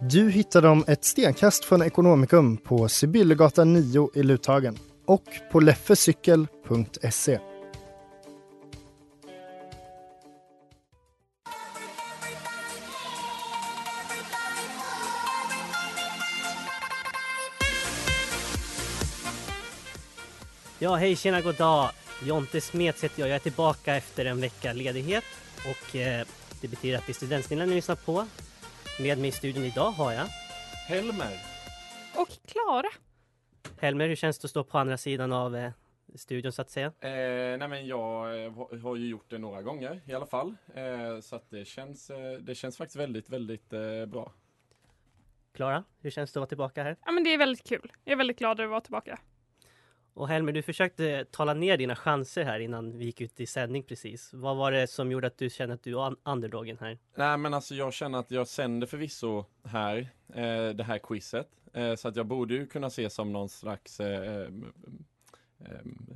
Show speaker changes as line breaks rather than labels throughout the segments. Du hittar dem ett stenkast från Ekonomikum på Sibyllegatan 9 i Luthagen och på leffecykel.se.
Ja, hej, tjena, god dag. Jonte Smeds heter jag. Jag är tillbaka efter en vecka ledighet och eh, det betyder att det är Studentsnillen ni lyssnar på. Med mig i studion idag har jag
Och Klara.
Helmer. Hur känns det att stå på andra sidan av eh, studion så att säga?
Eh, nej men jag eh, har- har ju gjort det några gånger i alla fall. Eh, så att det känns, eh, det känns faktiskt väldigt, väldigt eh, bra.
Klara, hur känns det att vara tillbaka här?
Ja men det är väldigt kul. Jag är väldigt glad över att vara tillbaka.
Och Helmer, du försökte tala ner dina chanser här innan vi gick ut i sändning precis. Vad var det som gjorde att du kände att du var un- underdogen här?
Nej men alltså jag känner att jag sänder förvisso här, eh, det här quizet. Eh, så att jag borde ju kunna ses som någon slags eh, em, em,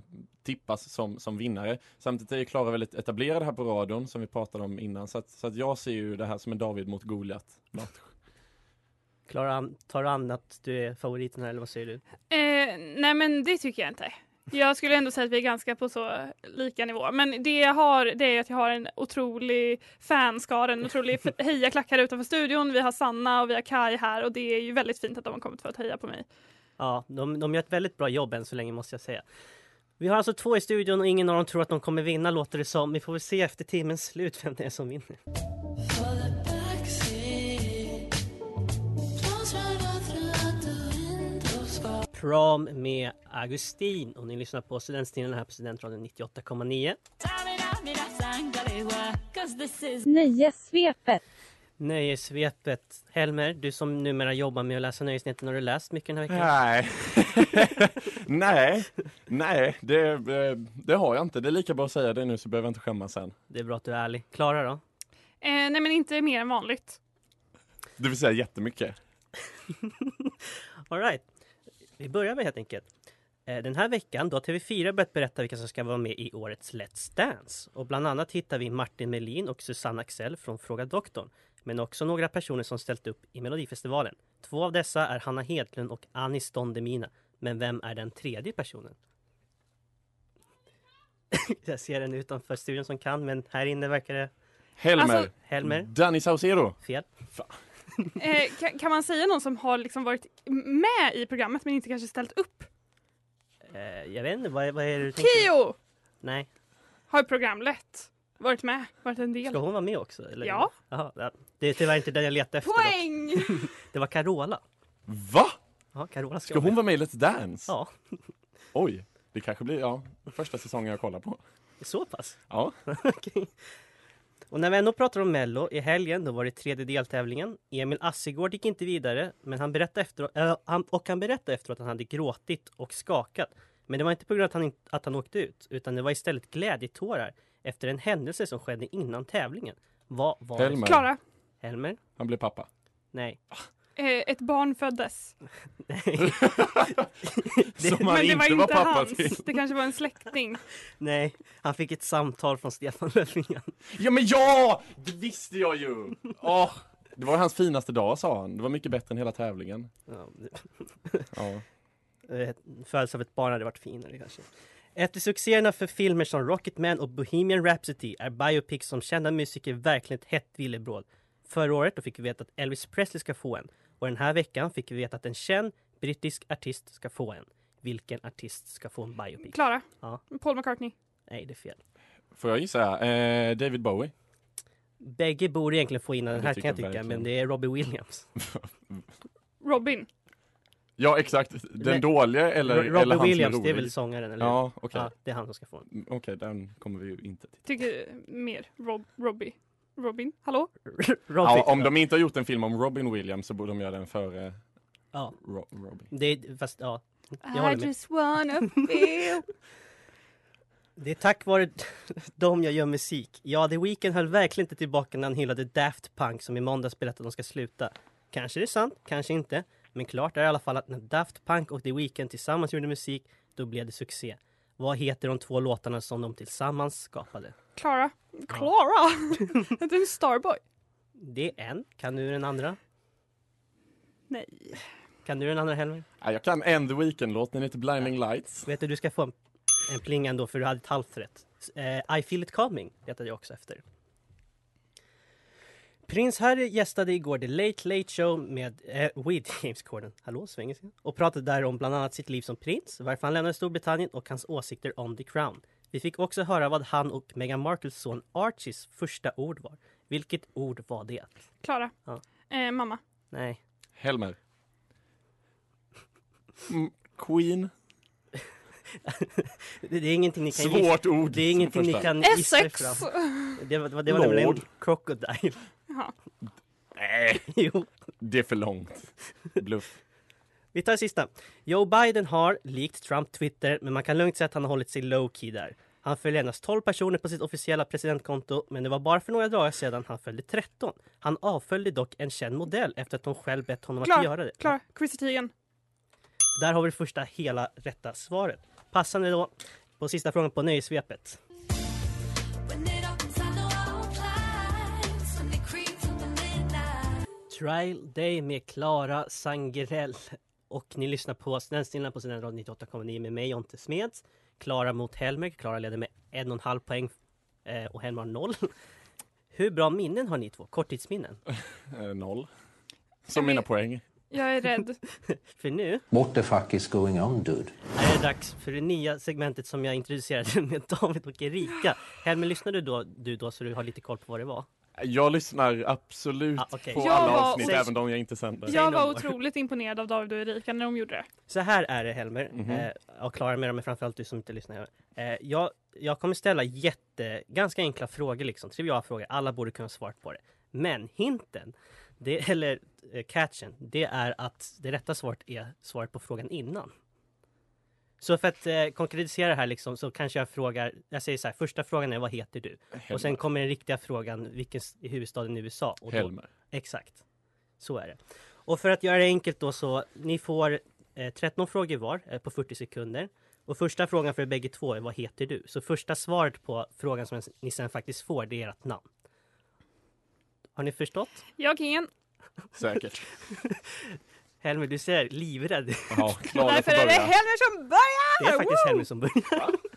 tippas som, som vinnare. Samtidigt är ju Klara väldigt etablerad här på radion som vi pratade om innan. Så att, så att jag ser ju det här som en David mot Goliat match.
Klara, an- tar du an att du är favoriten här eller vad säger du?
Eh, nej men det tycker jag inte. Jag skulle ändå säga att vi är ganska på så lika nivå. Men det jag har det är att jag har en otrolig fanskara, en otrolig f- hejaklack här utanför studion. Vi har Sanna och vi har Kai här och det är ju väldigt fint att de har kommit för att heja på mig.
Ja, de, de gör ett väldigt bra jobb än så länge måste jag säga. Vi har alltså två i studion och ingen av dem tror att de kommer vinna låter det som. Vi får väl se efter timmens slut vem det är som vinner. Prom med Augustin och ni lyssnar på Studentstilen här på Studentradion 98,9.
Nöjessvepet.
Nöjessvepet. Helmer, du som numera jobbar med att läsa nyhetsnyheterna, har du läst mycket den här veckan?
Nej. nej, nej, det, eh, det har jag inte. Det är lika bra att säga det nu så behöver jag inte skämmas sen.
Det är bra att du är ärlig. Klara då?
Eh, nej men inte mer än vanligt.
Det vill säga jättemycket.
All right. Vi börjar med helt enkelt. Eh, Den här veckan då har TV4 börjat berätta vilka som ska vara med i årets Let's Dance. Och bland annat hittar vi Martin Melin och Susanne Axel från Fråga Doktorn. Men också några personer som ställt upp i Melodifestivalen. Två av dessa är Hanna Hedlund och Anis Don Demina. Men vem är den tredje personen? Jag ser den utanför studion som kan, men här inne verkar det...
Helmer.
Alltså-
Helmer?
Danny Saucedo.
Fel.
Eh, kan, kan man säga någon som har liksom varit med i programmet men inte kanske ställt upp?
Eh, jag vet inte, vad, är- vad är det du tänker?
Kio
Nej.
har programlett. Varit med, varit en del.
Ska hon vara med också? Eller?
Ja.
Jaha, ja. det är tyvärr inte den jag letade efter. då.
Poäng!
Det var Carola.
Va?
Ja, Carola ska,
Ska hon
med.
vara med i Let's Dance?
Ja,
Oj, det kanske blir ja, första säsongen jag kollar på.
så pass.
Ja.
Okej. Och när vi ändå pratar om Mello, i helgen då var det tredje deltävlingen. Emil Assigård gick inte vidare, men han berättade efteråt, äh, han, och han berättade efteråt att han hade gråtit och skakat. Men det var inte på grund av att han, inte- att han åkte ut, utan det var istället glädjetårar efter en händelse som skedde innan tävlingen. Vad var
Helmer.
det?
Klara,
Helmer?
Han blir pappa.
Nej.
eh, ett barn föddes.
Som han inte var pappa till.
Det kanske var en släkting.
Nej, han fick ett samtal från Stefan Löfven.
Ja men ja! Det visste jag ju! Åh, Det var hans finaste dag sa han. Det var mycket bättre än hela tävlingen.
Ja, det-
Ja.
Eh, födelse av ett barn hade varit finare kanske. Efter succéerna för filmer som Rocketman och Bohemian Rhapsody är biopics som kända musiker verkligen ett hett villebråd. Förra året då fick vi veta att Elvis Presley ska få en. Och den här veckan fick vi veta att en känd brittisk artist ska få en. Vilken artist ska få en biopic?
Klara.
Ja.
Paul McCartney.
Nej, det är fel.
Får jag gissa? Eh, David Bowie?
Bägge borde egentligen få in den
Det
här
tycker
kan jag
jag
tycka,
verkligen.
men det är Robbie Williams.
Robin.
Ja, exakt.
Nej.
Den dåliga eller,
Ro-
eller
Robbie
han
Williams,
som
det
är
är
rolig?
väl sångaren, eller hur?
Ja, okej.
Ja, det är han som ska få en.
Mm, Okej, den kommer vi ju inte till.
Tycker mer. Rob, Robbie. Robin. Hallå?
Robbie.
Ja, om de inte har gjort en film om Robin Williams så borde de göra den före
Ja,
Ro- Robin.
det är, fast, ja. Jag
I
håller med.
just wanna feel.
Det är tack vare dem jag gör musik. Ja, The Weeknd höll verkligen inte tillbaka när han hyllade Daft Punk som i måndags berättade att de ska sluta. Kanske det är sant, kanske inte. Men klart är i alla fall att när Daft Punk och The Weeknd tillsammans gjorde musik, då blev det succé. Vad heter de två låtarna som de tillsammans skapade?
Klara. Klara! Heter du Starboy?
Det är en. Kan du den andra?
Nej.
Kan du den andra Helmer?
Ja, jag kan en The Weeknd-låt, den heter Blinding Lights.
Vet du, du ska få en, en pling ändå för du hade ett halvt rätt. Eh, I feel it coming letade jag också efter. Prins Harry gästade igår The Late Late Show med eh, with James Corden, hallå svengelska, och pratade där om bland annat sitt liv som prins, varför han lämnade Storbritannien och hans åsikter om The Crown. Vi fick också höra vad han och Meghan Markles son Archies första ord var. Vilket ord var det?
Klara.
Ja.
Eh, mamma.
Nej,
Helmer. Mm, Queen.
det, det är ingenting ni kan gissa.
Svårt ord.
Det är ingenting ni
första.
kan gissa er
Essex!
fram. Det var, det var, det var nämligen
Lord.
Crocodile.
Jaha.
Nej,
Jo.
det är för långt. Bluff.
Vi tar sista. Joe Biden har, likt Trump, Twitter, men man kan lugnt säga att han har hållit sig low key där. Han följer endast 12 personer på sitt officiella presidentkonto, men det var bara för några dagar sedan han följde 13. Han avföljde dock en känd modell efter att hon själv bett honom
Klar,
att göra det.
Klara. Chrissy Teigen.
Där har vi det första hela rätta svaret. Passande då på sista frågan på nöjesvepet. Trial Day med Klara Sangerell. Och ni lyssnar på Studentsnillan på Studentradion 98,9 med mig Jonte Smeds. Klara mot Helmer. Klara leder med en och en halv poäng eh, och Helmer har noll. Hur bra minnen har ni två? Korttidsminnen?
Eh, noll.
Ska
Som
vi-
mina poäng.
Jag är rädd.
För nu
What the fuck is going on dude?
är det dags för det nya segmentet som jag introducerade med David och Erika. Helmer, lyssnade du då, du då så du har lite koll på vad det var?
Jag lyssnar absolut
Ah, okej.
på
Jag
alla
var-
avsnitt,
Säg-
även de jag inte sänder.
Säg
Jag
någon.
var otroligt imponerad av David och Erika när de gjorde det.
Så här är det Helmer,
Mhm.
eh, och Klara med dem, men framförallt du som inte lyssnar. Eh, jag, jag kommer ställa jätte, ganska enkla frågor, liksom, triviala frågor. Alla borde kunna svara på det. Men hinten, det, eller eh, catchen, det är att det rätta svaret är svaret på frågan innan. Så för att eh, konkretisera det här liksom, så kanske jag frågar, jag säger så här, första frågan är vad heter du?
Helmer.
Och sen kommer den riktiga frågan, vilken s- är huvudstaden i USA? Och då,
Helmer.
Exakt. Så är det. Och för att göra det enkelt då så, ni får eh, 13 frågor var eh, på 40 sekunder. Och första frågan för er bägge två är vad heter du? Så första svaret på frågan som ni sen faktiskt får, det är ert namn. Har ni förstått?
Jag ingen.
Säkert.
Helmer, du ser livrädd ut.
Ja, Klara
Därför
får
är det
börja.
Helmer som börjar!
Det är faktiskt
Woo!
Helmer som börjar.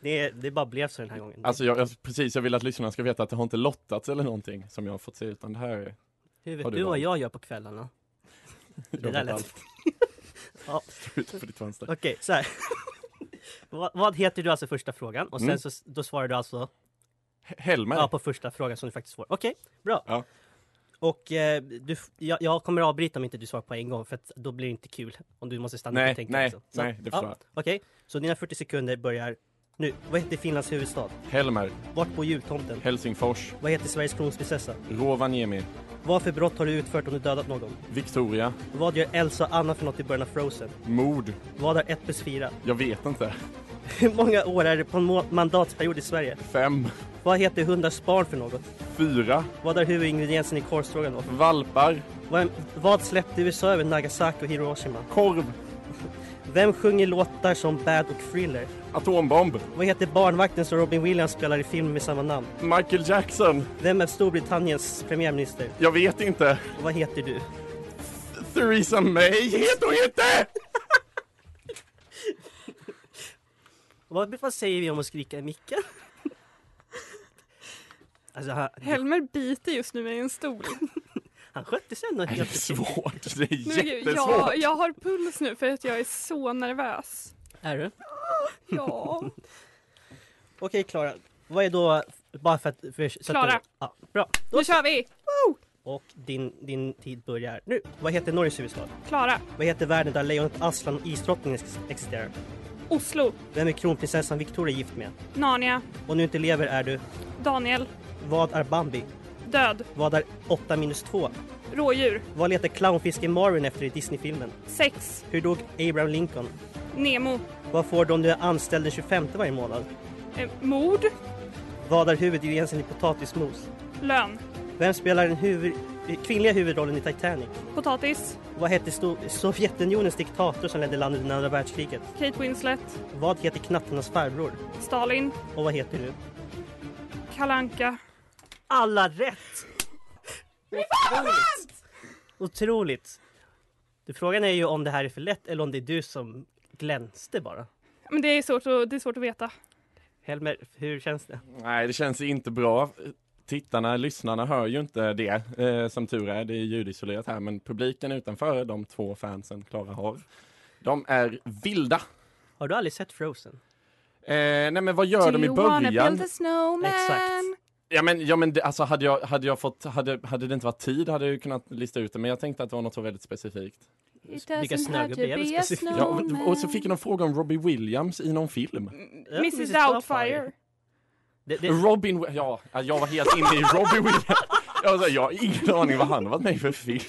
Det, det bara blev så den här gången.
Alltså jag, jag, precis, jag vill att lyssnarna ska veta att det har inte lottats eller någonting som jag har fått se, utan det här är...
Hur vet
har du
du vad
dem?
jag gör på kvällarna?
Jag
där
vet
lät-
allt.
Ja.
Ut på ditt fönster.
Okej, så här. vad, vad heter du alltså första frågan? Och sen
Mm.
så, då svarar du alltså
Helmer.
Ja, på första frågan som du faktiskt får. Okej, bra.
Ja.
Och eh, du, f- jag, jag kommer avbryta om inte du svarar på en gång för att då blir det inte kul om du måste stanna upp
Nej,
och tänka.
nej,
också. Så,
nej, det förstår
Okej, så dina 40 sekunder börjar nu. Vad heter Finlands huvudstad?
Helmer.
Vart bor jultomten?
Helsingfors.
Vad heter Sveriges kronprinsessa?
Rovaniemi.
Vad för brott har du utfört om du dödat någon?
Victoria.
Vad gör Elsa och Anna för något i början av Frozen?
Mord.
Vad är 1 plus 4?
Jag vet inte.
Hur många år är det på en må- mandatperiod i Sverige?
Fem.
Vad heter hundars barn för något?
Fyra.
Vad är huvudingrediensen i korvstroganoff?
Valpar.
Vad, vad släppte USA över Nagasaki och Hiroshima?
Korv.
Vem sjunger låtar som Bad och Thriller?
Atombomb.
Vad heter barnvakten som Robin Williams spelar i filmen med samma namn?
Michael Jackson.
Vem är Storbritanniens premiärminister?
Jag vet inte.
Och vad heter du?
Theresa May. Heter hon inte!
Vad, vad säger vi om att skrika i micken? Alltså, han,
Helmer biter just nu i en stol.
han skötte sig ändå
Det är svårt. Det är
Nu,
jättesvårt.
jag, jag har puls nu för att jag är så nervös.
Är du?
Ja.
Okej Klara, vad är då, bara för att... För, så att-
Klara.
ja, bra. Då,
Nu kör vi!
och din, din tid börjar nu. Vad heter Norges huvudstad?
Klara.
Vad heter världen där lejonet Aslan och isdrottningen ex- existerar?
Oslo.
Vem är kronprinsessan Victoria gift med?
Narnia.
Om du inte lever är du...
Daniel.
Vad är Bambi?
Död.
Vad är 8 minus 2?
Rådjur.
Vad letar clownfisken Marvin efter i Disneyfilmen?
Sex.
Hur dog Abraham Lincoln?
Nemo.
Vad får du om du är anställd den 25 varje månad?
Eh, mord.
Vad är huvudingrediensen i potatismos?
Lön.
Vem spelar den huvud, eh, kvinnliga huvudrollen i Titanic?
Potatis.
Vad hette Sto- Sovjetunionens diktator som ledde landet under andra världskriget?
Kate Winslet.
Vad heter knattarnas farbror?
Stalin.
Och vad heter du?
Kalanka.
Alla rätt! Otroligt! Otroligt! Du, frågan är ju om det här är för lätt eller om det är du som glänste bara.
Men det är svårt att, det är svårt att veta.
Helmer, hur känns det?
Nej, det känns inte bra. Tittarna, lyssnarna hör ju inte det, eh, som tur är. Det är ljudisolerat här, men publiken utanför, de två fansen Klara har, de är vilda.
Har du aldrig sett Frozen?
Eh, nej, men vad gör de i
wanna
början?
build a snowman?
Exakt.
Ja, men, ja, men det, alltså, hade, jag, hade, jag fått, hade, hade det inte varit tid hade jag ju kunnat lista ut det, men jag tänkte att det var något så väldigt specifikt.
It
Vilka
doesn't have
snögubbar
to
är det
be a
specifikt?
Ja, och- och så fick jag någon fråga om Robbie Williams i någon film.
Ja,
Mrs Doubtfire.
Det, det,
Robin, ja, jag var helt inne i Robbie Williams. Jag, var så här, jag har ingen aning vad han har varit med i för film.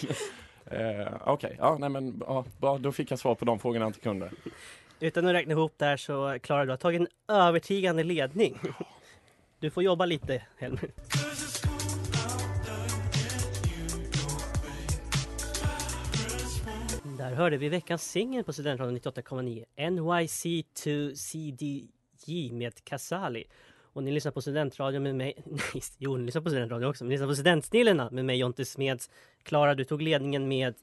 Eh, Okej, ja, nej men ja, bra, då fick jag svar på de frågorna jag inte kunde.
utan att räkna ihop där så Klara, du har tagit en övertygande ledning. Du får jobba lite, Helmer. Där hörde vi veckans singel på Studentradion 98,9 NYC2CDJ med Casali. Och ni lyssnar på Studentradion med mig... Nej, jo, ni lyssnar på Studentradion också, men ni lyssnar på Studentsnillena med mig, Jonte Smeds. Klara, du tog ledningen med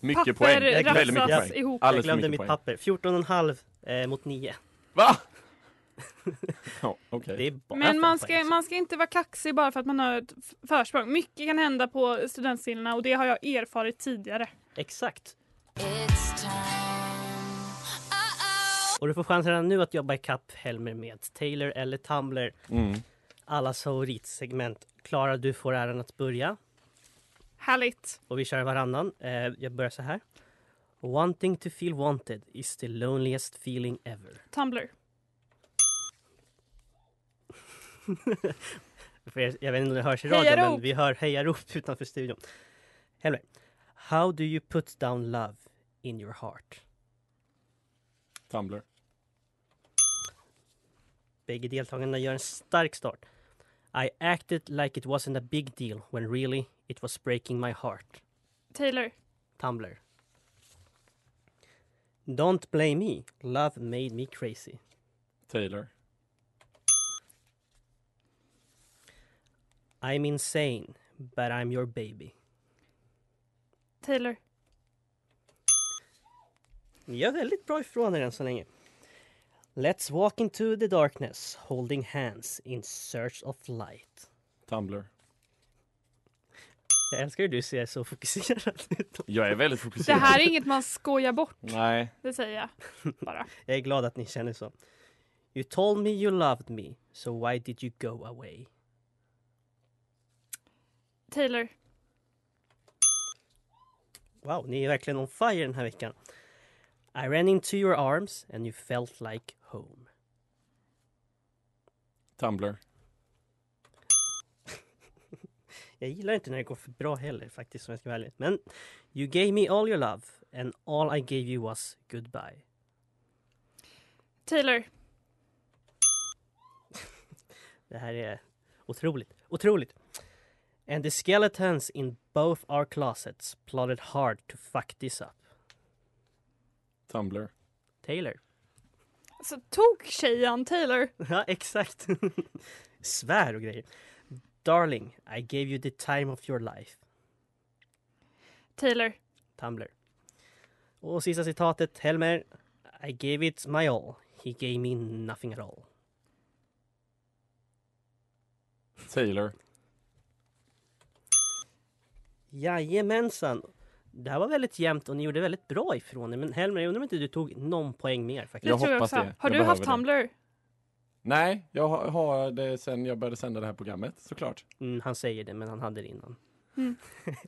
Mycket
Papper
poäng,
rafsas
väldigt mycket poäng.
ihop.
Alldeles
Jag
för
glömde
mycket
mitt
poäng.
papper. 14,5 eh, mot 9.
Va? ja, okej.
Det är bara
Men man
fem
ska,
poäng.
man ska inte vara kaxig bara för att man har ett f- försprång. Mycket kan hända på studentscenerna och det har jag erfarit tidigare.
Exakt. Och du får chansen redan nu att jobba ikapp Helmer med Taylor eller Tumblr.
Mm.
Allas favoritsegment. Klara, du får äran att börja.
Härligt.
Och vi kör varannan. Eh, jag börjar så här. Wanting to feel wanted is the loneliest feeling ever.
Tumblr.
För er- Jag vet inte om det hörs i radion,
Hejarop!
men vi hör hejarop utanför studion. Helmer, how do you put down love in your heart?
Tumblr.
Bägge deltagarna gör en stark start. I acted like it wasn't a big deal when really it was breaking my heart.
Taylor.
Tumblr. Don't blame me. Love made me crazy.
Taylor.
I'm insane, but I'm your baby.
Taylor.
Ni gör väldigt bra ifrån er än så länge. Let's walk into the darkness, holding hands in search of light.
Tumblr.
Jag älskar hur du ser så fokuserad ut.
Jag är väldigt
Det
fokuserad.
här är inget man skojar bort,
Nej.
det säger jag bara.
Jag är glad att ni känner så. You told me you loved me, so why did you go away?
Taylor.
Wow, ni är verkligen on fire den här veckan. I ran into your arms and you felt like home.
Tumblr.
Jag gillar inte när det går för bra heller faktiskt om jag ska vara ärlig. Men you gave me all your love and all I gave you was goodbye.
Taylor.
Det här är otroligt, otroligt. And the skeletons in both our closets plotted hard to fuck this up.
Tumblr.
Taylor.
Så tog tjejen Taylor.
Ja, exakt. Svär och grejer. Darling, I gave you the time of your life.
Taylor.
Tumblr. Och sista citatet, Helmer. I gave it my all. He gave me nothing at all.
Taylor.
Jajamensan. Det här var väldigt jämnt och ni gjorde väldigt bra ifrån er. Men Helmer, jag undrar om inte du tog någon poäng mer faktiskt.
Jag
tror jag
hoppas
också.
det.
Har
Jag
du haft
behöver
Tumblr?
Nej, jag har- har det sen jag började sända det här programmet såklart.
Mm, han säger det, men han hade det innan.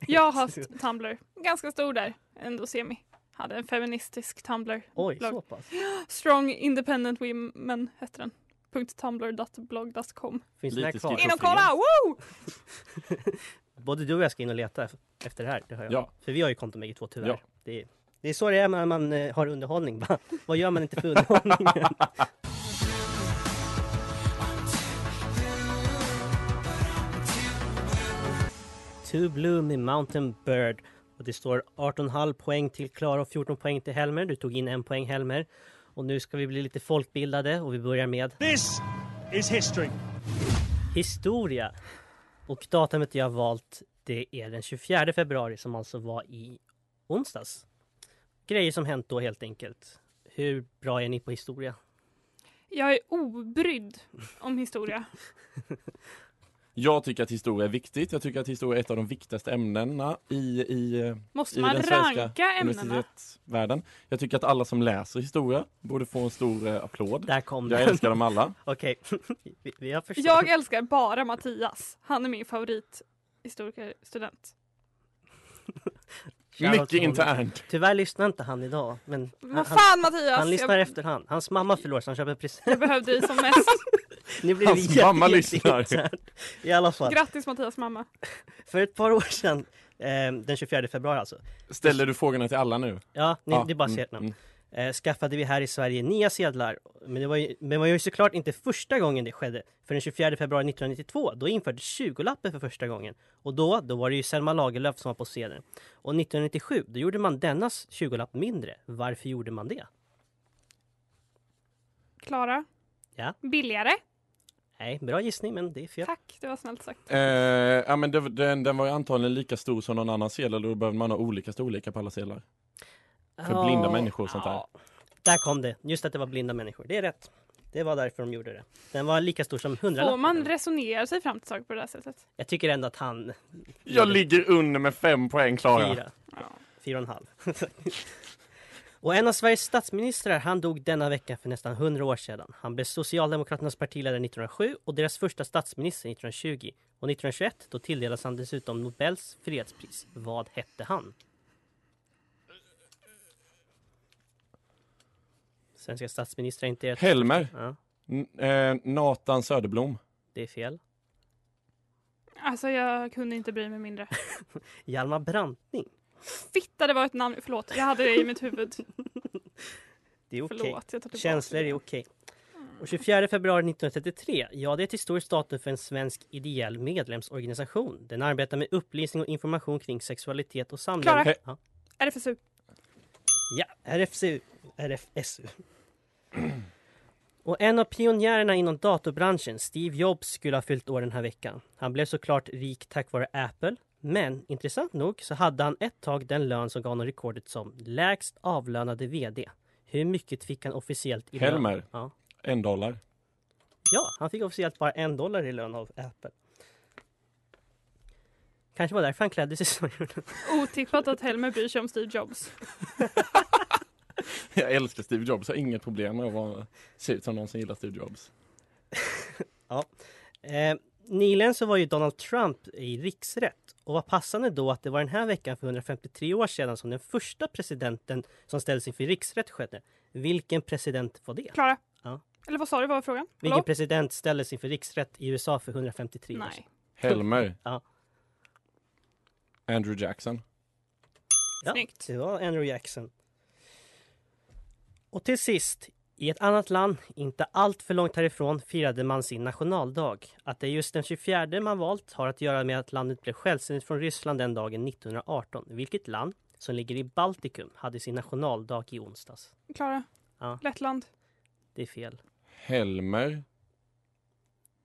Jag har haft Tumblr. Ganska stor där. Ändå semi. Hade en feministisk Tumblr.
Oj,
Lag.
så pass.
Strong Independent Women hette den. .tumblr.blog.com
Finns den här
Lite
kvar?
skrivet.
In och kolla! Woo!
Både du och jag ska in och leta ef- efter det här. Det har jag.
Ja.
För vi har ju konto bägge två tyvärr.
Ja.
Det, är, det är så det är när man eh, har underhållning. va? Vad gör man inte för underhållningen? Two Bloom i Mountain Bird. Och det står 18,5 poäng till Klara och 14 poäng till Helmer. Du tog in en poäng Helmer. Och nu ska vi bli lite folkbildade och vi börjar med
This is history.
historia. Och datumet jag har valt det är den 24 februari som alltså var i onsdags. Grejer som hänt då helt enkelt. Hur bra är ni på historia?
Jag är obrydd om historia.
Jag tycker att historia är viktigt. Jag tycker att historia är ett av de viktigaste ämnena i, i, eh,
Måste
i
man
den svenska
ranka ämnena?
universitetsvärlden. Jag tycker att alla som läser historia borde få en stor eh, applåd.
Där kom
Jag
den.
älskar dem alla.
Okej, vi, vi har förstått.
Jag älskar bara Mattias. Han är min favorithistorikerstudent.
Shoutout
Mycket
till honom.
internt.
Tyvärr lyssnar inte han idag. Men han,
Vad
han,
fan Mattias!
han lyssnar
jag,
efterhand. Hans mamma förlorar så han köper present.
jag behövde dig som mest.
Nu blir
Hans
det jätte-
mamma
jätte-
lyssnar.
internt. I alla fall.
Grattis Mattias mamma.
För ett par år sedan, eh, den 24 februari alltså.
Ställer du frågorna till alla nu?
Ja, ni,
Ja,
det är bara
mm,
sedlarna.
mm.
eh, skaffade vi här i Sverige nya sedlar. Men det var ju, men det var ju såklart inte första gången det skedde. För den 24 februari 1992, då infördes 20-lappen för första gången. Och då, då var det ju Selma Lagerlöf som var på sedeln. Och 1997, då gjorde man dennas 20-lapp mindre. Varför gjorde man det?
Klara?
Ja?
Billigare?
Nej, bra gissning, men det är fel.
Tack, det var snällt sagt.
Eh, ja, men det, den, den var ju antagligen lika stor som någon annan sedel och då behöver man ha olika storlekar på alla sedlar. För
Ja,
blinda människor och sånt där.
ja. Där kom det. Just att det var blinda människor. Det är rätt. Det var därför de gjorde det. Den var lika stor som
Får man
hundralappen.
resonera sig fram till saker på det där sättet?
Jag tycker ändå att han...
Jag ligger under med fem poäng Klara.
Fyra. Fyra och en halv. och en av Sveriges statsministrar, han dog denna vecka för nästan 100 år sedan. Han blev Socialdemokraternas partiledare 1907 och deras första statsminister 1920. Och 1921, då tilldelades han dessutom Nobels fredspris. Vad hette han? Svenska statsministrar är inte rätt.
Helmer.
Ja,
N- eh, Nathan Söderblom.
det är fel.
Alltså jag kunde inte bry mig mindre.
Hjalmar Branting.
Fitta, det var ett namn. Förlåt, jag hade det i mitt huvud.
Det är okej.
Förlåt, jag tar tillbaka
Känslor
det.
är okej. Och 24 februari 1933, ja det är ett historiskt datum för en svensk ideell medlemsorganisation. Den arbetar med upplysning och information kring sexualitet och samlevnad.
Klara.
Ja,
RFSU.
ja RFSU, RFSU. Och en av pionjärerna inom datorbranschen, Steve Jobs, skulle ha fyllt år den här veckan. Han blev såklart rik tack vare Apple. Men intressant nog så hade han ett tag den lön som gav honom rekordet som lägst avlönade VD. Hur mycket fick han officiellt i lön?
Helmer.
Ja.
En dollar.
Ja, han fick officiellt bara en dollar i lön av Apple. Kanske var därför han klädde sig så.
Otippat att Helmer bryr sig om Steve Jobs.
Jag älskar Steve Jobs. Jag har inget problem med att vara, se ut som någon som gillar Steve Jobs.
Eh, nyligen så var ju Donald Trump i riksrätt. Och vad passande då att det var den här veckan för 153 år sedan som den första presidenten som ställdes inför riksrätt skedde. Vilken president var det?
Klara?
Ja.
Eller vad sa du, vad var frågan?
Vilken
Hallå?
president ställdes inför riksrätt i USA för 153 år sedan?
Nej.
Helmer.
Ja.
Andrew Jackson.
Snyggt.
Det var Andrew Jackson. Och till sist, i ett annat land, inte allt för långt härifrån, firade man sin nationaldag. Att det är just den 24 man valt har att göra med att landet blev självständigt från Ryssland den dagen 1918. Vilket land, som ligger i Baltikum, hade sin nationaldag i onsdags?
Klara?
Ja.
Lettland?
Det är fel.
Helmer.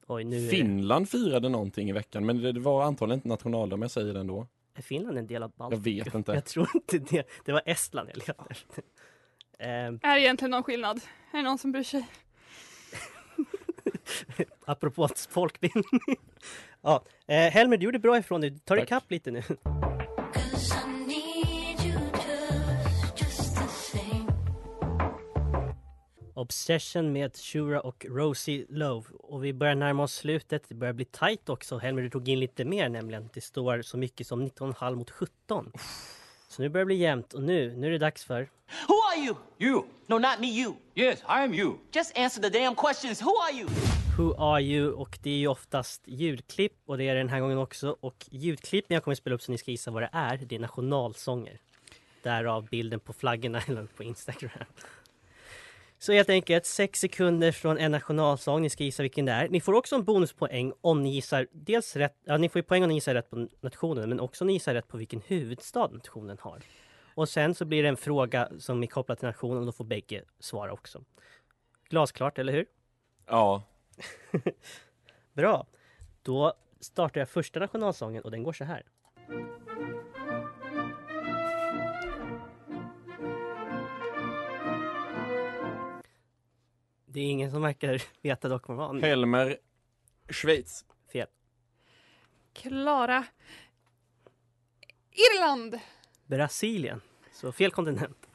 Oj, nu är det-
Finland firade någonting i veckan men det det var antagligen inte nationaldag men jag säger det ändå.
är Finland en del av
Jag
Baltikum?
vet inte.
Jag tror inte det. Det var Estland jag letade efter. Ehm,
Är det egentligen någon skillnad? Är det någon som bryr sig?
Apropå folkbildning. ja, eh, Helmer, du gjorde bra ifrån dig. Tar
Tack.
ikapp lite nu. Obsession med Shura och Rosie Love. Och vi börjar närma oss slutet. Det börjar bli tight också. Helmer, du tog in lite mer nämligen. Det står så mycket som 19,5 mot 17. Så nu börjar det bli jämnt och nu, nu är det dags för...
Who are you? You. No, not me, you. Yes, I am you. Just answer the damn questions. Who are you?
Who are you? Och det är ju oftast ljudklipp och det är det den här gången också. Och ljudklippen jag kommer att spela upp så ni ska gissa vad det är, det är nationalsånger. Därav bilden på flaggorna jag la upp på Instagram. Så helt enkelt, sex sekunder från en nationalsång. Ni ska gissa vilken det är. Ni får också en bonuspoäng om ni gissar dels rätt, ja ni får ju poäng om ni gissar rätt på nationen, men också om ni gissar rätt på vilken huvudstad nationen har. Och sen så blir det en fråga som är kopplad till nationen och då får bägge svara också. Glasklart, eller hur?
Ja.
Bra. Då startar jag första nationalsången och den går så här. Det är ingen som verkar veta dock vad man
Helmer, Schweiz.
Fel.
Klara. Irland.
Brasilien. Så fel kontinent.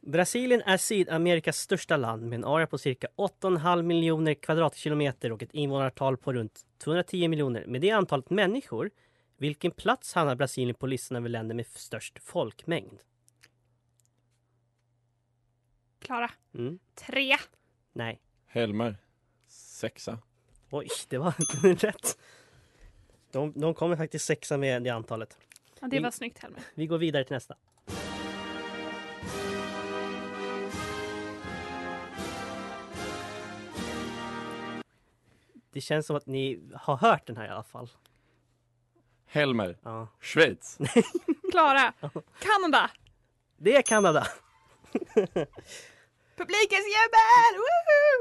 Brasilien är Sydamerikas största land med en area på cirka 8,5 miljoner kvadratkilometer och ett invånarantal på runt 210 miljoner. Med det antalet människor, vilken plats hamnar Brasilien på listan över länder med f- störst folkmängd?
Klara.
Mm.
Tre.
Nej.
Helmer, sexa.
Oj, det var rätt. De, de kommer faktiskt sexa med det antalet.
Ja, det var
Vi-
snyggt Helmer.
Vi går vidare till nästa. Det känns som att ni har hört den här i alla fall.
Helmer,
Ja.
Schweiz.
Klara. Kanada.
Det är Kanada!
Publikens jubel!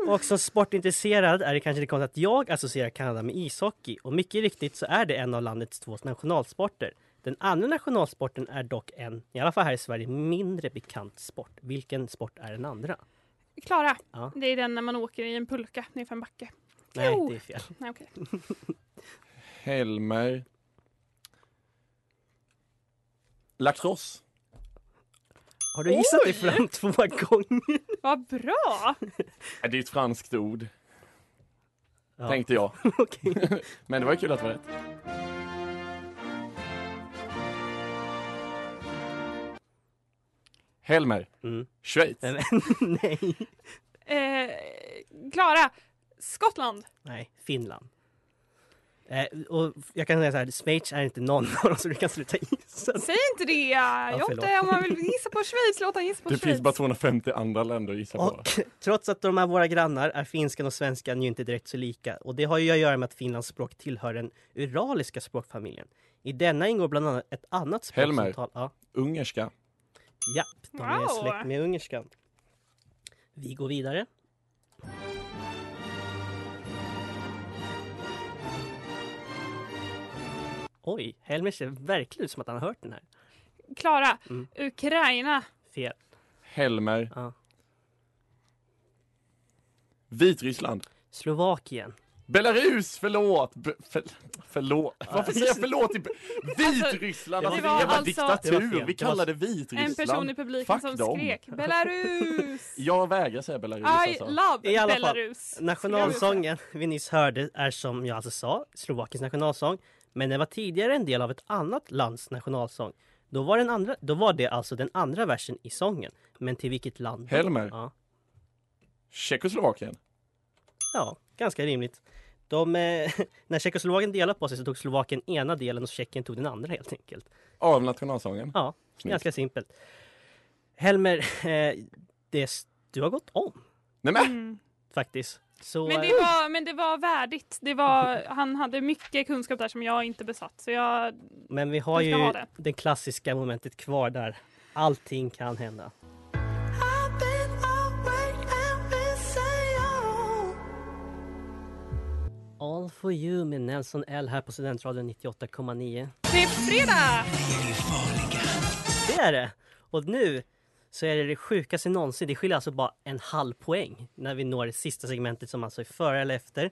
Woohoo!
Och som sportintresserad är det kanske det konstigt att jag associerar Kanada med ishockey. Och mycket riktigt så är det en av landets två nationalsporter. Den andra nationalsporten är dock en, i alla fall här i Sverige, mindre bekant sport. Vilken sport är den andra?
Klara.
Ja.
Det är den när man åker i en pulka nerför en backe.
Nej,
Jo.
det är fel.
Nej, okej.
Helmer. Lacrosse.
Har du gissat dig fram två gånger?
Vad bra!
Äh, Det är ett franskt ord,
Ja.
tänkte jag.
Okej.
Men det var ju kul att det var rätt. Helmer,
Mm.
Schweiz.
Men, nej.
Eh, Klara. Skottland.
nej, Finland. Eh, och jag kan säga så här, Schweiz är inte någon av dem så du kan sluta gissa.
Säg inte det! Jotte,
förlåt.
om man vill gissa på Schweiz, låt han gissa på
Det
Schweiz.
finns bara 250 andra länder att gissa på.
Och trots att de är våra grannar är finskan och svenskan ju inte direkt så lika. Och det har ju att göra med att Finlands språk tillhör den uraliska språkfamiljen. I denna ingår bland annat ett annat språk
Helmer.
som tal- ja,
Ungerska.
ja, de är
Wow.
släkt med ungerskan. Vi går vidare. Oj, Helmer ser verkligen ut som att han har hört den här.
Klara.
Mm.
Ukraina.
Fel.
Helmer,
Ja.
Vitryssland.
Slovakien.
Belarus, förlåt! Be- för- förlåt. Varför säger jag förlåt? i Be- Vitryssland,
Alltså,
alltså,
det
det
var
var
alltså-
Det var fel.
diktatur. Vi
Det var-
kallar det
En
Vitryssland.
person i publiken
Fuck
som
dem.
skrek Belarus.
Jag vägrar säga Belarus
I
alltså.
love
I alla fall,
Belarus.
Nationalsången vi nyss hörde är som jag alltså sa Slovakiens nationalsång. Men den var tidigare en del av ett annat lands nationalsång. Då var, den andra, då var det alltså den andra versen i sången. Men till vilket land? då?
Helmer.
Ja,
Tjeckoslovakien.
ja ganska rimligt. De, eh, när Tjeckoslovakien delade på sig så tog Slovakien ena delen och Tjeckien tog den andra helt enkelt.
Av nationalsången.
Ja,
Snyggt.
ganska simpelt. Helmer, eh, det, s- du har gått om
Nej men!
Mm.
faktiskt. Så,
Men, det
eh,
var, men det var värdigt. Det var, han hade mycket kunskap där som jag inte besatt. Så jag,
men vi har
vi
ju
ska ha det.
det klassiska momentet kvar där. Allting kan hända. All for you med Nelson L här på Studentradion 98,9.
det är fredag!
Det är det! Och nu så är det det sjukaste någonsin. Det skiljer alltså bara en halv poäng när vi når det sista segmentet som alltså är före eller efter.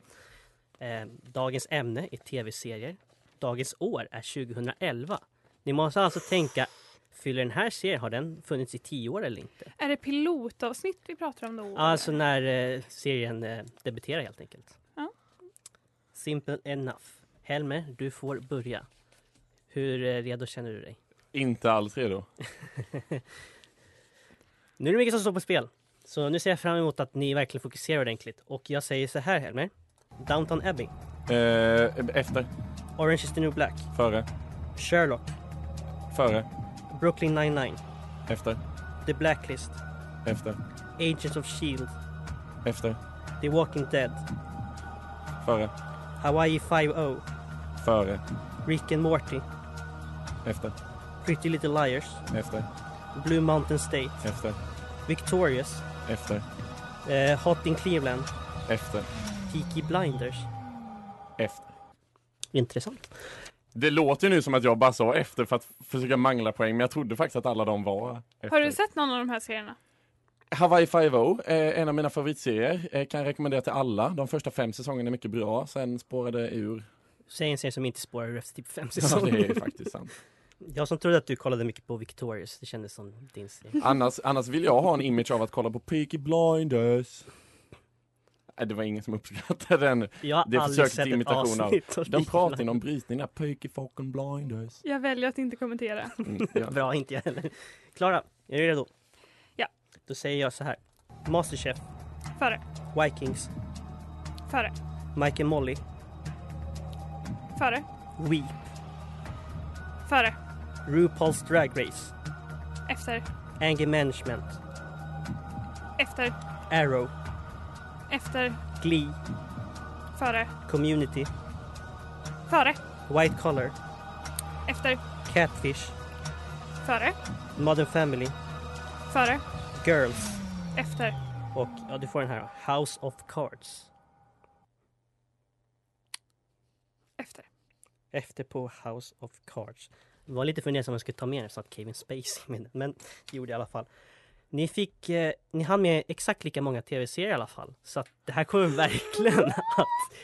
Eh, dagens ämne är tv-serier. Dagens år är 2011. Ni måste alltså tänka, fyller den här serien, har den funnits i tio år eller inte?
Är det pilotavsnitt vi pratar om då?
Alltså när eh, serien eh, debuterar helt enkelt.
Ja.
Simple enough. Helmer, du får börja. Hur eh, redo känner du dig?
Inte alls redo.
Nu är det mycket som står på spel. Så nu ser jag fram emot att ni verkligen fokuserar ordentligt. Och jag säger så här Helmer. Downton Abbey.
Eh, efter.
Orange is the new black.
Före.
Sherlock.
Före.
Brooklyn 99.
Efter.
The Blacklist.
Efter.
Agents of Shield.
Efter.
E The Walking Dead.
Före.
Hawaii 5-0.
Före.
Rick and Morty.
Efter.
Pretty Little Liars.
Efter.
Blue Mountain State.
Efter.
Victorious.
Efter.
Eh, Hot in Cleveland.
Efter.
Peaky Blinders.
Efter.
Intressant.
Det låter ju nu som att jag bara sa efter för att försöka mangla poäng, men jag trodde faktiskt att alla de var efter.
Har du sett någon av de här serierna?
Hawaii Five-O, eh, en av mina favoritserier. Eh, kan rekommendera till alla. De första fem säsongerna är mycket bra, sen spårade det ur.
Säg en serie som inte spårar efter typ fem
Ja,
säsonger.
det är faktiskt sant.
Jag som trodde att du kollade mycket på Victorious. Det kändes som din serie.
Annars, annars vill jag ha en image av att kolla på Peaky Blinders. Nej, det var ingen som uppskattade den.
Jag har
Det är
aldrig
försök
sett
till
ett
imitation av.
avsnitt av
De
Peaky
pratar
Blinders.
inom brytning där, Peaky fucking Blinders.
Jag väljer att inte kommentera.
Mm, ja.
Bra, inte jag heller. Klara, är du redo?
Ja.
Då säger jag så här. Masterchef,
Före,
Vikings,
före,
Mike and Molly,
före,
We,
före,
RuPaul's Drag Race,
efter,
Anger Management,
efter,
Arrow,
efter,
Glee,
före,
Community,
före,
White Collar,
efter,
Catfish,
före,
Modern Family,
före,
Girls
efter.
och ja, du får den här då, House of Cards.
Efter.
Efter på House of Cards. Det var lite fundersam om jag skulle ta med den så att Kevin Spacey med den, men det gjorde jag i alla fall. Ni fick, eh, ni hann med exakt lika många tv-serier i alla fall. Så att det här kommer verkligen att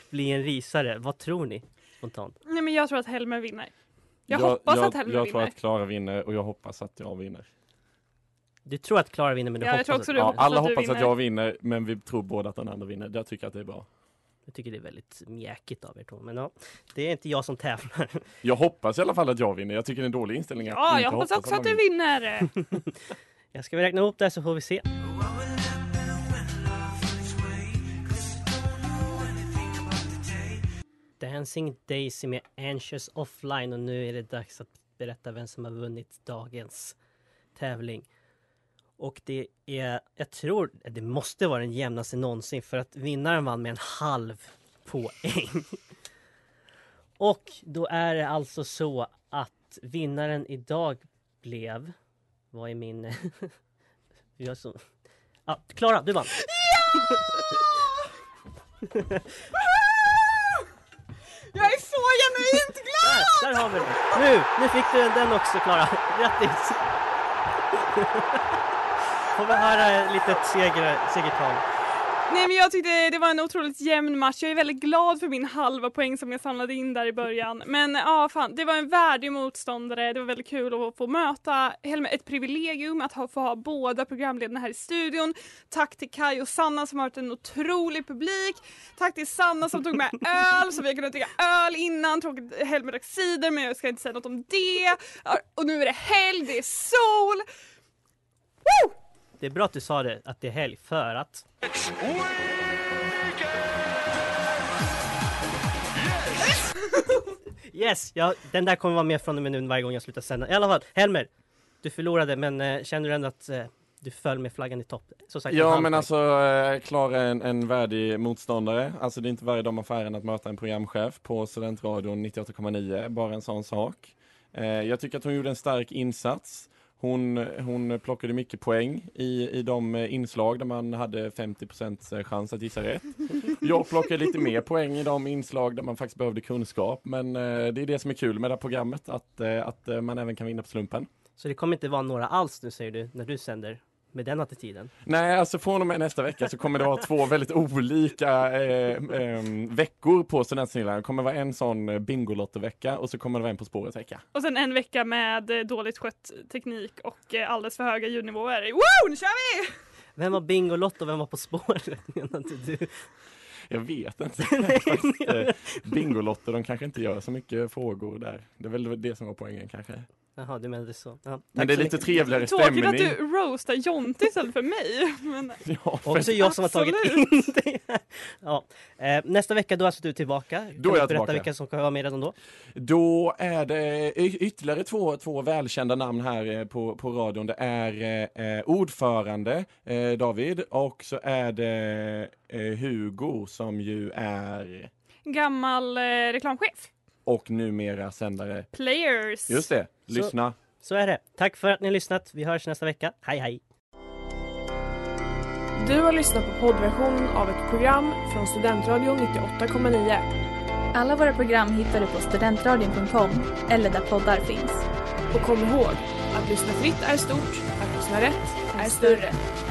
bli en risare. Vad tror ni? Spontant.
Nej men jag tror att Helmer vinner. Jag hoppas
jag,
att Helmer
Jag tror
vinner.
att Klara vinner och jag hoppas att jag vinner.
Du tror att Klara vinner men du
Ja, jag
hoppas
tror också
att...
du
Ja,
hoppas
alla
att du
hoppas att
vinner.
jag vinner, men vi tror båda att den andra vinner. Jag tycker att det är bra.
Jag tycker det är väldigt mjäkigt av er två. Men ja, det är inte jag som tävlar.
Jag hoppas i alla fall att jag vinner. Jag tycker det är en dålig inställning. att
Ja,
inte
jag hoppas också
man
att du vinner.
Jag ska väl räkna ihop det här så får vi se. Dancing Daisy med Anxious Offline och nu är det dags att berätta vem som har vunnit dagens tävling. Och det är, jag tror, det måste vara den jämnaste någonsin för att vinnaren vann med en halv poäng. Och då är det alltså så att vinnaren idag blev, vad är min... Jag så... Ah, Klara, du vann!
Jag är så genuint glad!
Där, där har vi den! Nu! Nu fick du den- den också Klara! Grattis! Får vi höra ett litet seger, segertal?
Nej men jag tyckte det var en otroligt jämn match. Jag är väldigt glad för min halva poäng som jag samlade in där i början. Men ja, fan, det var en värdig motståndare. Det var väldigt kul att få möta Helmer. Ett privilegium att ha, få ha båda programledarna här i studion. Tack till Kai och Sanna som har varit en otrolig publik. Tack till Sanna som tog med öl så vi har kunnat dricka öl innan. Tråkigt Helmer drack cider men jag ska inte säga något om det. Och nu är det helg, det är sol. Woo!
Det är bra att du sa det, att det är helg, för att... Yes! Ja, den där kommer vara med från och med nu varje gång jag slutar sända. I alla fall, Helmer! Du förlorade, men eh, känner du ändå att eh, du föll med flaggan i topp? Som sagt, en
Ja
halv
men
poäng.
alltså eh, Klara är en, en värdig motståndare. Alltså det är inte varje dag man får äran att möta en programchef på Studentradion 98,9. Bara en sån sak. Eh, jag tycker att hon gjorde en stark insats. Hon, hon plockade mycket poäng i, i de eh, inslag där man hade 50 chans att gissa rätt. Jag plockade lite mer poäng i de inslag där man faktiskt behövde kunskap. Men eh, det är det som är kul med det här programmet, att, eh, att eh, man även kan vinna på slumpen.
Så det kommer inte vara några alls nu säger du, när du sänder? med den attityden.
Nej, alltså från och med nästa vecka så kommer det vara två väldigt olika eh, eh, veckor på Studentsnillan. Det kommer vara en sån eh, Bingolotto-vecka och så kommer det vara en På spåret-vecka.
Och sen en vecka med eh, dåligt skött teknik och eh, alldeles för höga ljudnivåer. Wow, nu kör vi!
Vem var Bingolotto och vem var På spåret? Menar inte du?
Jag vet inte. Fast, eh, Bingolotto, de kanske inte gör så mycket frågor där. Det är väl det som var poängen kanske.
Jaha, du menade så. Ja,
Men
tack
det är
så
lite
mycket.
trevligare
Tråkigt
stämning.
att du roastar Jonte istället för mig. Men,
Ja, för-
Också jag som har tagit in
Absolut.
det här. Ja. Eh, nästa vecka då är alltså du tillbaka. Kan
Då är
du berätta
jag tillbaka.
vilka som kommer vara med redan då?
Då är det y- ytterligare två, två välkända namn här eh, på, på radion. Det är eh, eh, ordförande eh, David och så är det eh, Hugo som ju är
Gammal eh, reklamchef.
och numera sändare.
Players.
Just det, lyssna.
Så är det. Tack för att ni har lyssnat. Vi hörs nästa vecka. Hej hej!
Du har lyssnat på poddversionen av ett program från Studentradion 98,9.
Alla våra program hittar du på studentradion.com eller där poddar finns.
Och kom ihåg, att lyssna fritt är stort, att lyssna rätt är större.